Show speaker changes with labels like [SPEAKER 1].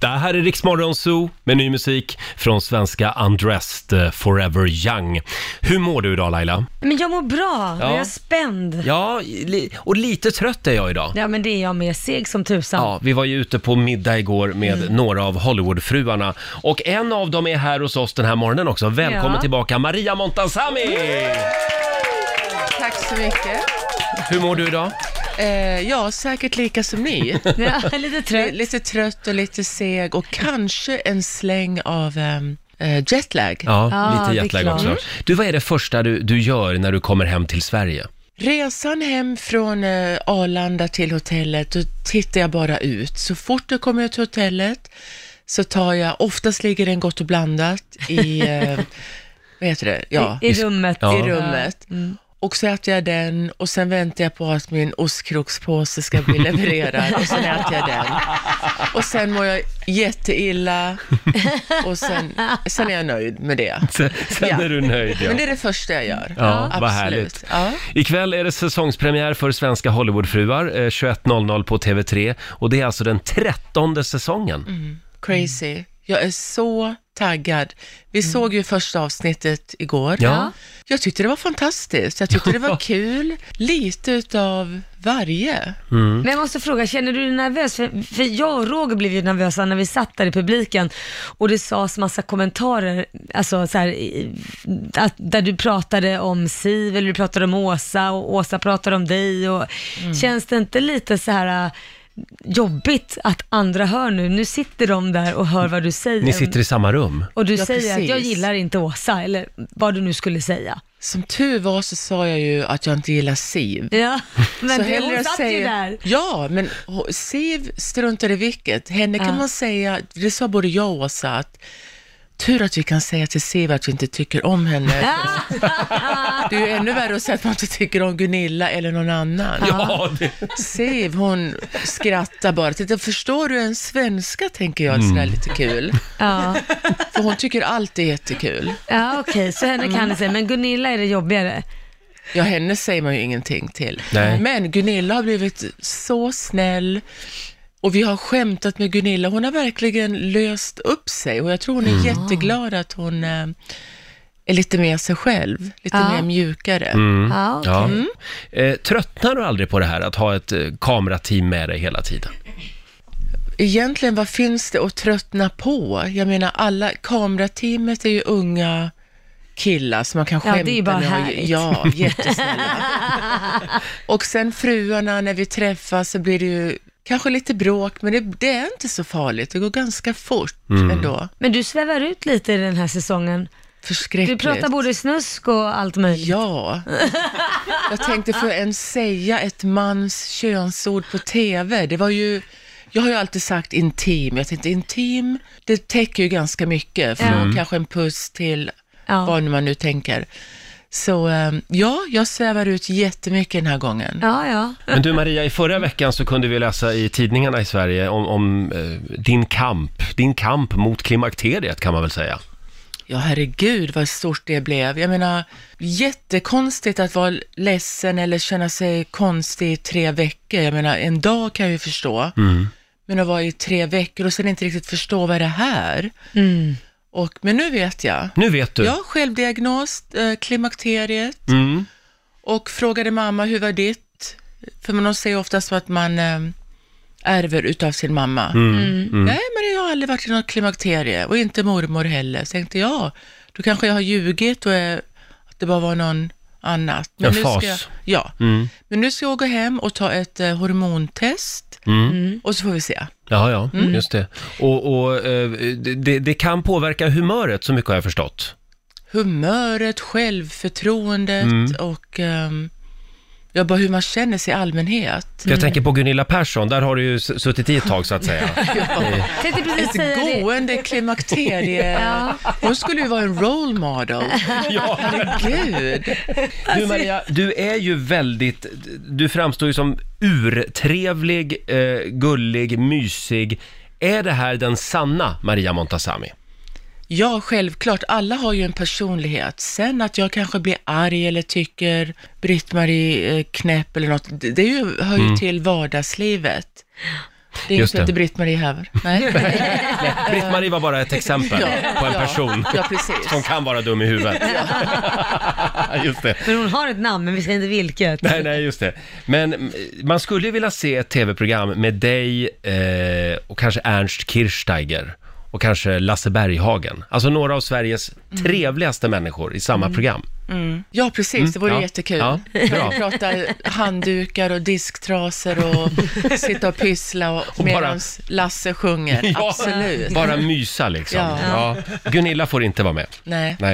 [SPEAKER 1] Det här är Riksmorgon Zoo med ny musik från svenska Undressed eh, Forever Young. Hur mår du idag Laila?
[SPEAKER 2] Men jag mår bra,
[SPEAKER 1] Ja.
[SPEAKER 2] jag är spänd. Ja.
[SPEAKER 1] Ja, li- och lite trött är jag idag.
[SPEAKER 2] men det är jag med, seg som tusan.
[SPEAKER 1] Ja, vi var ju ute på middag igår med några av Hollywoodfruarna och en av dem är här hos oss den här morgonen också. Välkommen
[SPEAKER 2] Ja.
[SPEAKER 1] tillbaka Maria Montazami!
[SPEAKER 3] Tack så mycket.
[SPEAKER 1] Hur mår du idag?
[SPEAKER 3] Eh, ja, säkert lika som ni.
[SPEAKER 2] Ja, lite
[SPEAKER 3] L-
[SPEAKER 2] trött.
[SPEAKER 3] lite trött och lite seg och kanske en släng av ehm, eh, jetlag.
[SPEAKER 1] Ja,
[SPEAKER 2] Ja, det är
[SPEAKER 1] lite jetlag
[SPEAKER 2] klart.
[SPEAKER 1] också. Du, vad är det första du, du gör när du kommer hem till Sverige?
[SPEAKER 3] Resan hem från eh, Arlanda till hotellet, då tittar jag bara ut. Så fort jag kommer ut till hotellet så tar jag, oftast ligger den gott och blandat i, eh, vad heter det, ja,
[SPEAKER 2] I, I rummet.
[SPEAKER 1] Ja.
[SPEAKER 3] i rummet. Och så äter jag den och sen väntar jag på att min ostkrokspåse ska bli levererad och sen äter jag den. Och sen mår jag jätteilla och sen, sen är jag nöjd med det.
[SPEAKER 1] Sen, sen
[SPEAKER 3] Ja.
[SPEAKER 1] är du nöjd ja.
[SPEAKER 3] Men det är det första jag gör.
[SPEAKER 1] Ja, vad
[SPEAKER 3] Absolut.
[SPEAKER 1] härligt.
[SPEAKER 3] Ja.
[SPEAKER 1] Ikväll är det säsongspremiär för svenska Hollywoodfruar, eh, 21.00 på TV3 och det är alltså den trettonde säsongen.
[SPEAKER 3] Crazy. Jag är så taggad. Vi såg ju första avsnittet igår.
[SPEAKER 1] Mm. Ja.
[SPEAKER 3] Jag tyckte det var fantastiskt. Jag tyckte det var kul. Lite utav varje.
[SPEAKER 1] Mm.
[SPEAKER 2] Men jag måste fråga, känner du dig nervös? För, för jag och Roger blev ju nervösa när vi satt där i publiken och det sades massa kommentarer, alltså så här, i- att, där du pratade om Siv eller du pratade om Åsa och Åsa pratade om dig och
[SPEAKER 1] Mm.
[SPEAKER 2] känns det inte lite så här äh, jobbigt att andra hör nu? Nu sitter de där och hör vad du säger.
[SPEAKER 1] Ni sitter i samma rum.
[SPEAKER 2] Och du
[SPEAKER 3] Ja,
[SPEAKER 2] säger att
[SPEAKER 3] precis.
[SPEAKER 2] jag gillar inte Åsa, eller vad du nu skulle säga.
[SPEAKER 3] Som tur var så sa jag ju att jag inte gillar Siv.
[SPEAKER 2] Ja, men det,
[SPEAKER 3] hellre
[SPEAKER 2] hon satt ju
[SPEAKER 3] säga-
[SPEAKER 2] där.
[SPEAKER 3] Ja, men ho- Siv struntar i vilket. Henne
[SPEAKER 2] Ja.
[SPEAKER 3] kan man säga, det sa både jag och Åsa, att tur att vi kan säga till Siv att vi inte tycker om henne. Det är ju ännu värre att säga att man inte tycker om Gunilla eller någon annan.
[SPEAKER 1] Ja, det,
[SPEAKER 3] Siv, hon skrattar bara. Titta, förstår du en svenska, tänker jag, sådär lite kul.
[SPEAKER 2] Ja,
[SPEAKER 3] För hon tycker allt är jättekul.
[SPEAKER 2] ja okej, så henne kan det säga, men Gunilla är det jobbigare.
[SPEAKER 3] Ja, henne säger man ju ingenting till.
[SPEAKER 1] Nej.
[SPEAKER 3] Men Gunilla har blivit så snäll och vi har skämtat med Gunilla. Hon har verkligen löst upp sig och jag tror hon är jätteglad att hon eh, är lite mer sig själv, lite
[SPEAKER 2] Ja.
[SPEAKER 3] mer mjukare.
[SPEAKER 2] Ja, okej.
[SPEAKER 1] ja. Eh, tröttnar du aldrig på det här att ha ett eh, kamerateam med dig hela tiden?
[SPEAKER 3] Egentligen, vad finns det att tröttna på? Jag menar, alla, kamerateamet är ju unga killar som man kan
[SPEAKER 2] Ja, det
[SPEAKER 3] skämta
[SPEAKER 2] är ju bara
[SPEAKER 3] med.
[SPEAKER 2] härligt.
[SPEAKER 3] Ja, jättesnälla. och sen fruarna, när vi träffas så blir det ju kanske lite bråk, men det, det är inte så farligt. Det går ganska fort ändå.
[SPEAKER 2] Men du svävar ut lite i den här säsongen. Du
[SPEAKER 3] Förskräckligt.
[SPEAKER 2] pratar både snusk och allt möjligt.
[SPEAKER 3] Ja. Jag tänkte, får jag ens säga ett mans könsord på TV? Det var ju... Jag har ju alltid sagt intim. Jag tänkte intim, det täcker ju ganska mycket. Från kanske en puss till
[SPEAKER 2] Ja.
[SPEAKER 3] vad man nu tänker. Så eh, ja, jag svävar ut jättemycket den här gången.
[SPEAKER 2] Ja, ja.
[SPEAKER 1] Men du Maria, i förra veckan så kunde vi läsa i tidningarna i Sverige om, om eh, din kamp, din kamp mot klimakteriet kan man väl säga.
[SPEAKER 3] Ja, herregud vad stort det blev. Jag menar, jättekonstigt att vara ledsen eller känna sig konstig i tre veckor. Jag menar, en dag kan jag ju förstå. Men att vara i tre veckor och sen inte riktigt förstå vad det här. Och, men nu vet jag.
[SPEAKER 1] Nu vet du.
[SPEAKER 3] Jag har självdiagnos, eh, klimakteriet.
[SPEAKER 1] Mm.
[SPEAKER 3] Och frågade mamma, hur var ditt? För man säger oftast att man eh, ärver utav sin mamma.
[SPEAKER 1] Mm,
[SPEAKER 3] Mm. Nej, men jag har aldrig varit i något klimakterie och inte mormor heller. Så tänkte jag, då kanske jag har ljugit och eh, att det bara var någon annat. Men
[SPEAKER 1] En
[SPEAKER 3] nu
[SPEAKER 1] fas. Mm.
[SPEAKER 3] Ska jag, ja, men nu ska jag gå hem och ta ett eh, hormontest
[SPEAKER 1] Mm.
[SPEAKER 3] Mm. och så får vi se.
[SPEAKER 1] Ja, ja, just det. Och, och eh, det- det, det kan påverka humöret så mycket har jag förstått.
[SPEAKER 3] Humöret, självförtroendet
[SPEAKER 1] Mm.
[SPEAKER 3] och ehm, ja, bara hur man känner sig i allmänhet.
[SPEAKER 1] Jag tänker på Gunilla Persson, där har du ju s- suttit i ett tag så att säga. Eh,
[SPEAKER 2] Tänkte precis säga
[SPEAKER 3] Ett
[SPEAKER 2] Alltså, det.
[SPEAKER 3] gående klimakterie. Hon skulle ju vara en role model.
[SPEAKER 1] Ja.
[SPEAKER 3] Herregud.
[SPEAKER 1] Du Maria, du är ju väldigt, du framstår ju som urtrevlig, eh, gullig, mysig. Är det här den sanna Maria Montazami?
[SPEAKER 3] Ja, självklart. Alla har ju en personlighet. Sen att jag kanske blir arg eller tycker Britt-Marie eh, knäpp eller något, det det är ju, hör ju till vardagslivet. Det är
[SPEAKER 1] Mm. Just
[SPEAKER 3] inte
[SPEAKER 1] det.
[SPEAKER 3] Britt-Marie Häver. Nej.
[SPEAKER 1] Nej, Britt-Marie var bara ett exempel på en person
[SPEAKER 3] Eh. Ja, precis.
[SPEAKER 1] som kan vara dum i huvudet. Just det.
[SPEAKER 2] Men hon har ett namn, men vi säger inte vilket.
[SPEAKER 1] Nej, nej, just det. Men mm, man skulle ju vilja se ett tv-program med dig eh, och kanske Ernst Kirchsteiger och kanske Lasse Berghagen. Alltså några av Sveriges trevligaste människor i samma program.
[SPEAKER 3] Ja, precis. det vore
[SPEAKER 1] Mm. ja.
[SPEAKER 3] jättekul.
[SPEAKER 1] Ja, bra.
[SPEAKER 3] Kan vi prata handdukar och disktrasor och sitta och pyssla och,
[SPEAKER 1] Och bara-
[SPEAKER 3] medans Lasse sjunger. Absolut.
[SPEAKER 1] Bara mysa liksom. Ja.
[SPEAKER 3] Ja.
[SPEAKER 1] Gunilla får inte vara med.
[SPEAKER 3] Nej.
[SPEAKER 1] Nej.